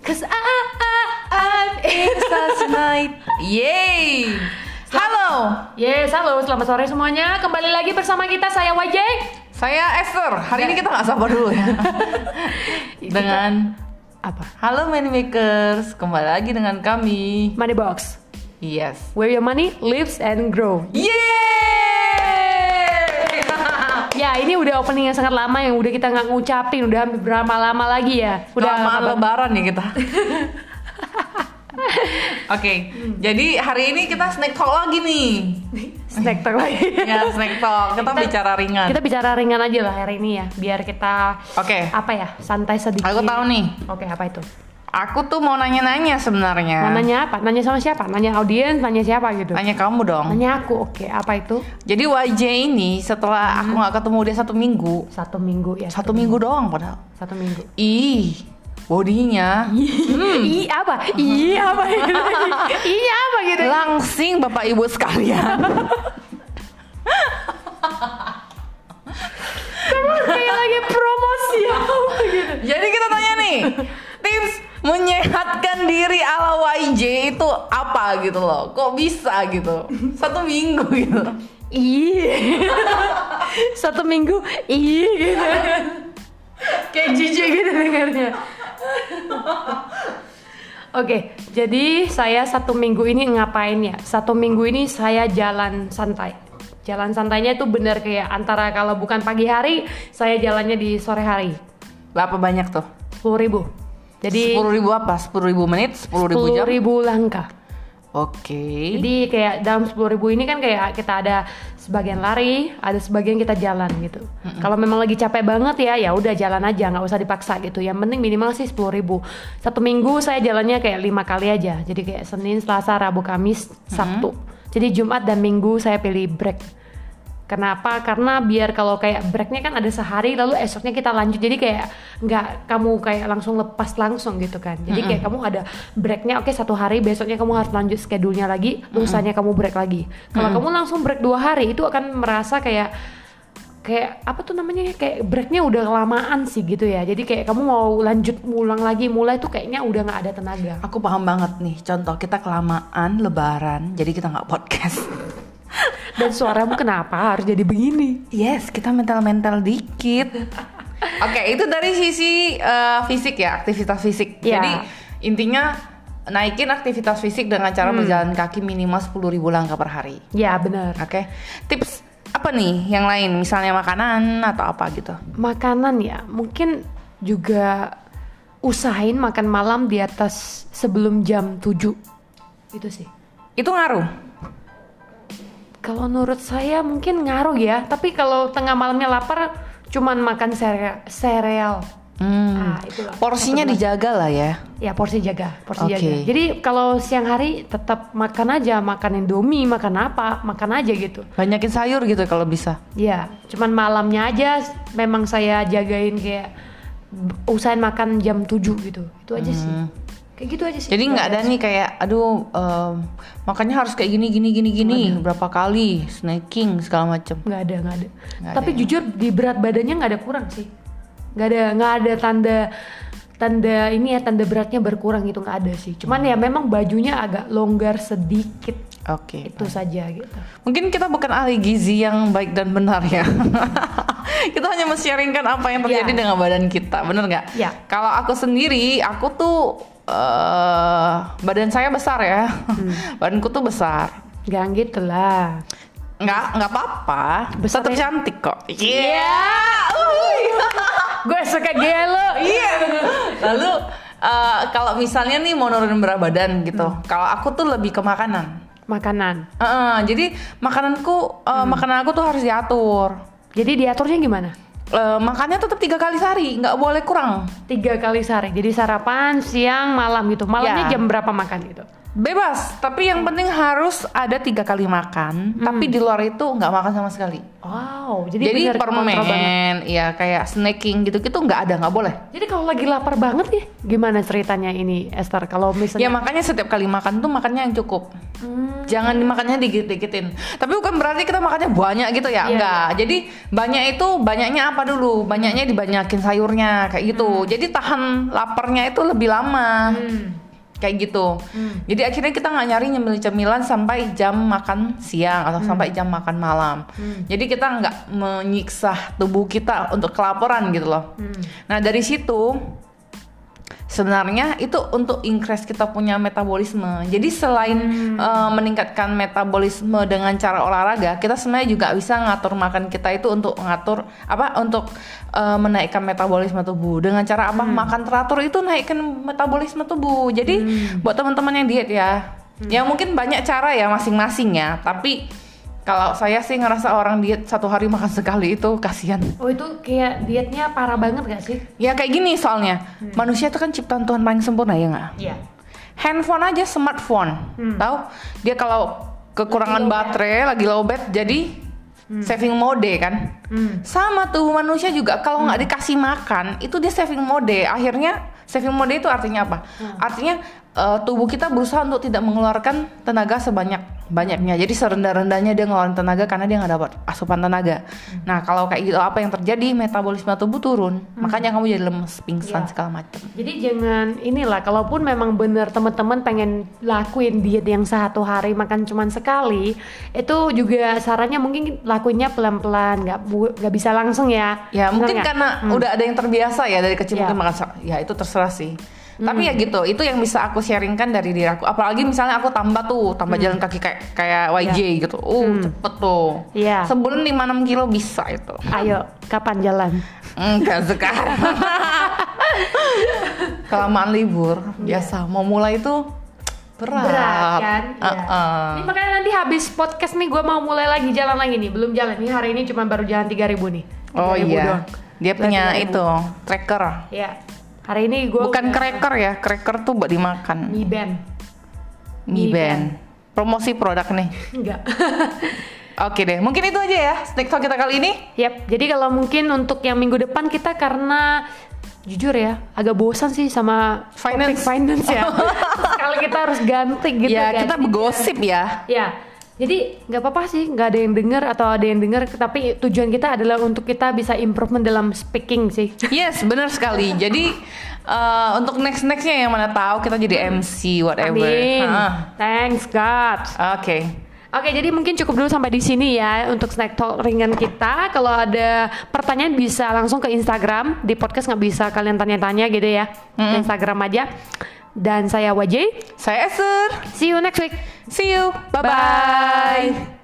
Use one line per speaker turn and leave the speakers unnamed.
Cause I, I, I'm It's night Yeay Halo
Yes, halo, selamat sore semuanya. Kembali lagi bersama kita saya Wajeng
Saya Esther Hari ini kita nggak sabar dulu ya Dengan
apa?
Halo Moneymakers Kembali lagi dengan kami
Money Box,
Yes
where your money lives and grow.
Yeay
Ya, ini udah opening yang sangat lama yang udah kita nggak ngucapin, udah hampir berapa lama lagi ya? Udah
Kelamaan
apa-
lebaran ya kita Oke, jadi hari ini kita snack talk lagi nih
snack talk lagi.
Ya snack talk, kita,
Kita-
bicara ringan
Kita bicara ringan aja lah hari ini ya, biar kita
Oke,
apa ya santai sedikit.
aku tahu nih
Oke, apa itu?
Aku tuh mau nanya-nanya sebenarnya.
Mau nanya apa? Nanya sama siapa? Nanya audiens, nanya siapa gitu?
Ya. Nanya kamu dong.
Nanya aku, oke, apa itu?
Jadi YJ ini setelah
Hmm.
aku nggak ketemu dia satu minggu,
Satu minggu ya.
satu minggu doang padahal.
Satu minggu.
Ih, bodinya
Iya. I apa? I apa gitu? I apa gitu?
langsing bapak ibu sekalian.
Kamu kayak lagi promosi apa gitu?
Jadi kita tanya nih, tips menyehatkan diri ala YJ itu apa gitu loh? Kok bisa gitu? Satu minggu gitu.
Iya. Satu minggu iya gitu. Kayak jijik gitu dengarnya. Oke, jadi saya satu minggu ini ngapain ya? Satu minggu ini saya jalan santai. Jalan santainya itu bener kayak antara kalau bukan pagi hari, saya jalannya di sore hari.
Berapa banyak tuh?
Sepuluh ribu. Jadi
Sepuluh ribu apa? Sepuluh ribu menit? Sepuluh ribu
sepuluh
jam?
ribu langkah.
Oke.
Jadi kayak dalam 10.000 ini kan kayak kita ada sebagian lari, ada sebagian kita jalan gitu. Kalau memang lagi capek banget ya, ya udah jalan aja, nggak usah dipaksa gitu. Yang penting minimal sih 10.000. Satu minggu saya jalannya kayak lima kali aja. Jadi kayak Senin, Selasa, Rabu, Kamis, Sabtu. Jadi Jumat dan Minggu saya pilih break. Kenapa? Karena biar kalau kayak breaknya kan ada sehari, lalu esoknya kita lanjut. Jadi kayak nggak kamu kayak langsung lepas langsung gitu kan. Jadi kayak kamu ada breaknya, oke satu hari, besoknya kamu harus lanjut schedule-nya lagi, lusanya kamu break lagi. Kalau kamu langsung break dua hari, itu akan merasa kayak kayak apa tuh namanya kayak breaknya udah kelamaan sih gitu ya. Jadi kayak kamu mau lanjut ulang lagi, mulai tuh kayaknya udah nggak ada tenaga.
Aku paham banget nih. Contoh kita kelamaan Lebaran, jadi kita nggak podcast.
Dan suaramu kenapa harus jadi begini?
Yes, kita mental-mental dikit. Oke, itu dari sisi eh, fisik ya, aktivitas fisik.
Iya.
Jadi intinya naikin aktivitas fisik dengan cara berjalan kaki minimal 10.000 langkah per hari.
Ya benar.
Oke. Tips apa nih yang lain? Misalnya makanan atau apa gitu.
makanan ya mungkin juga usahain makan malam di atas sebelum jam 7 itu sih
Itu ngaruh.
kalau menurut saya mungkin ngaruh ya tapi kalau tengah malamnya lapar cuman makan sereal sereal
Hmm.
ah itulah
Porsinya dijaga lah ya.
ya porsi jaga porsi
Oke.
jaga jadi kalau siang hari tetap makan aja makan indomie makan apa makan aja gitu
Banyakin sayur gitu kalau bisa.
Ya, cuman malamnya aja s- memang saya jagain kayak b- usahain makan jam 7 gitu. Itu aja sih. Kayak gitu aja sih.
Hmm. Jadi nggak ada nih kayak aduh em, makanya harus kayak gini gini gini gini berapa kali snacking segala macem.
nggak ada, nggak ada.
Nggak ya?
Tapi jujur di berat badannya nggak ada kurang sih. Nggak ada nggak ada tanda tanda ini ya tanda beratnya berkurang gitu nggak ada sih. Cuman ya memang bajunya agak longgar sedikit
Oke.
itu saja gitu.
Mungkin kita bukan ahli gizi yang baik dan benar ya. kita hanya men-sharingkan apa yang terjadi
Ya.
dengan badan kita, bener nggak?
Ya.
Kalau aku sendiri, aku tuh eh badan saya besar ya.
Hmm.
Badanku tuh besar.
Nggak gitu lah.
Nggak nggak apa-apa.
Besar
Tetap
ya.
cantik kok. Iya.
Iya. Gue suka gelo. Iya.
Lalu eh, kalau misalnya nih mau nurunin berat badan gitu,
Hmm.
kalau aku tuh lebih ke makanan.
Makanan.
Heeh, jadi makananku,
Hmm.
eh, makanan aku tuh harus diatur.
Jadi diaturnya gimana?
Eh, makannya tetap tiga kali sehari, nggak boleh kurang.
tiga kali sehari jadi sarapan siang malam gitu malamnya
Ya.
jam berapa makan gitu
Bebas, tapi
Hmm.
yang penting harus ada tiga kali makan. Tapi di luar itu nggak makan sama sekali.
Wow, Hmm. jadi,
Jadi,
bener kontrol banget.
permen, ya kayak snacking gitu-gitu nggak ada, nggak boleh.
Jadi kalau lagi lapar banget ya, gimana ceritanya ini Esther? Kalau
Ya
misalnya
makanya setiap kali makan tuh makannya yang cukup.
Hmm.
Jangan dimakannya dikit-dikitin. Tapi bukan berarti kita makannya banyak gitu ya,
Iya,
enggak. Jadi banyak itu banyaknya apa dulu? Banyaknya dibanyakin sayurnya kayak
Hmm.
gitu. Jadi tahan laparnya itu lebih lama. Kayak gitu. Jadi akhirnya kita nggak nyari nyemil cemilan sampai jam makan siang atau sampai jam makan malam. Jadi kita nggak menyiksa tubuh kita untuk kelaparan gitu loh.
Hmm.
Nah dari situ sebenarnya itu untuk increase kita punya metabolisme. Jadi selain eh, meningkatkan metabolisme dengan cara olahraga, kita sebenarnya juga bisa ngatur makan kita itu untuk ngatur apa untuk eh, menaikkan metabolisme tubuh. Dengan cara apa? Makan teratur itu naikkan metabolisme tubuh. Jadi buat teman-teman yang diet ya, ya mungkin banyak cara ya masing-masing ya, tapi kalau saya sih ngerasa orang diet satu hari makan sekali itu kasihan.
Oh itu kayak dietnya parah banget gak sih?
Ya kayak gini soalnya, manusia itu kan ciptaan Tuhan paling sempurna ya nggak?
Iya.
handphone aja smartphone tahu dia kalau kekurangan baterai lagi lowbat jadi saving mode kan
Hmm.
sama tuh manusia juga kalau nggak dikasih makan itu dia saving mode akhirnya saving mode itu artinya apa artinya eh, tubuh kita berusaha untuk tidak mengeluarkan tenaga sebanyak banyaknya jadi serendah rendahnya dia ngeluarin tenaga karena dia nggak dapat asupan tenaga nah kalau kayak gitu apa yang terjadi metabolisme tubuh turun makanya kamu jadi lemes
Iya.
pingsan segala macam
Jadi jangan inilah, kalaupun memang bener teman-teman pengen lakuin diet yang satu hari makan cuman sekali, itu juga sarannya mungkin lakuinnya pelan-pelan, nggak bu- nggak bisa langsung ya. Bener
Ya mungkin
nggak?
karena udah ada yang terbiasa ya dari kecil
Hmm. Ya. Hmm.
mungkin makan sa- ya itu terserah sih. Tapi ya gitu, itu yang bisa aku sharingkan dari diri aku. Apalagi misalnya aku tambah tuh, tambah
Hmm.
jalan kaki kayak kayak YJ
Ya.
gitu. Uh, cepet tuh.
Iya.
Sebulan 56 kilo bisa itu.
Ayo, kapan jalan?
Enggak sekarang. Kelamaan libur, biasa mau mulai itu berat.
Ya. kan? Iya.
Uh-uh.
Ini makanya nanti habis podcast nih gue mau mulai lagi jalan lagi nih, belum jalan nih hari ini cuma baru jalan 3000 nih.
Oh
3000
iya.
doang.
Dia
Jalan
punya
3000.
itu, tracker.
Iya. Hari ini gue
Bukan cracker ya, cracker tuh buat dimakan.
Mi Band. Mi
Mi
Band.
Band. Promosi produk nih.
Enggak.
Oke deh, mungkin itu aja ya snack talk kita kali ini.
Yap, jadi kalau mungkin untuk yang minggu depan kita karena jujur ya agak bosan sih sama topik
Finance.
finance ya. kalau kita harus ganti gitu
ya,
kan.
kita bergosip ya.
Ya. Jadi nggak apa-apa sih, nggak ada yang dengar atau ada yang dengar, tapi tujuan kita adalah untuk kita bisa improvement dalam speaking sih.
Yes, benar sekali. Jadi eh, untuk next nextnya yang mana tahu kita jadi MC whatever.
Amin.
Heeh.
Thanks God.
Oke.
Oke, jadi mungkin cukup dulu sampai di sini ya untuk snack talk ringan kita. Kalau ada pertanyaan bisa langsung ke Instagram di podcast nggak bisa kalian tanya-tanya gitu ya. Instagram aja. Dan saya Wajay.
Saya Esther.
See you next week.
See you. Bye bye.
Bye.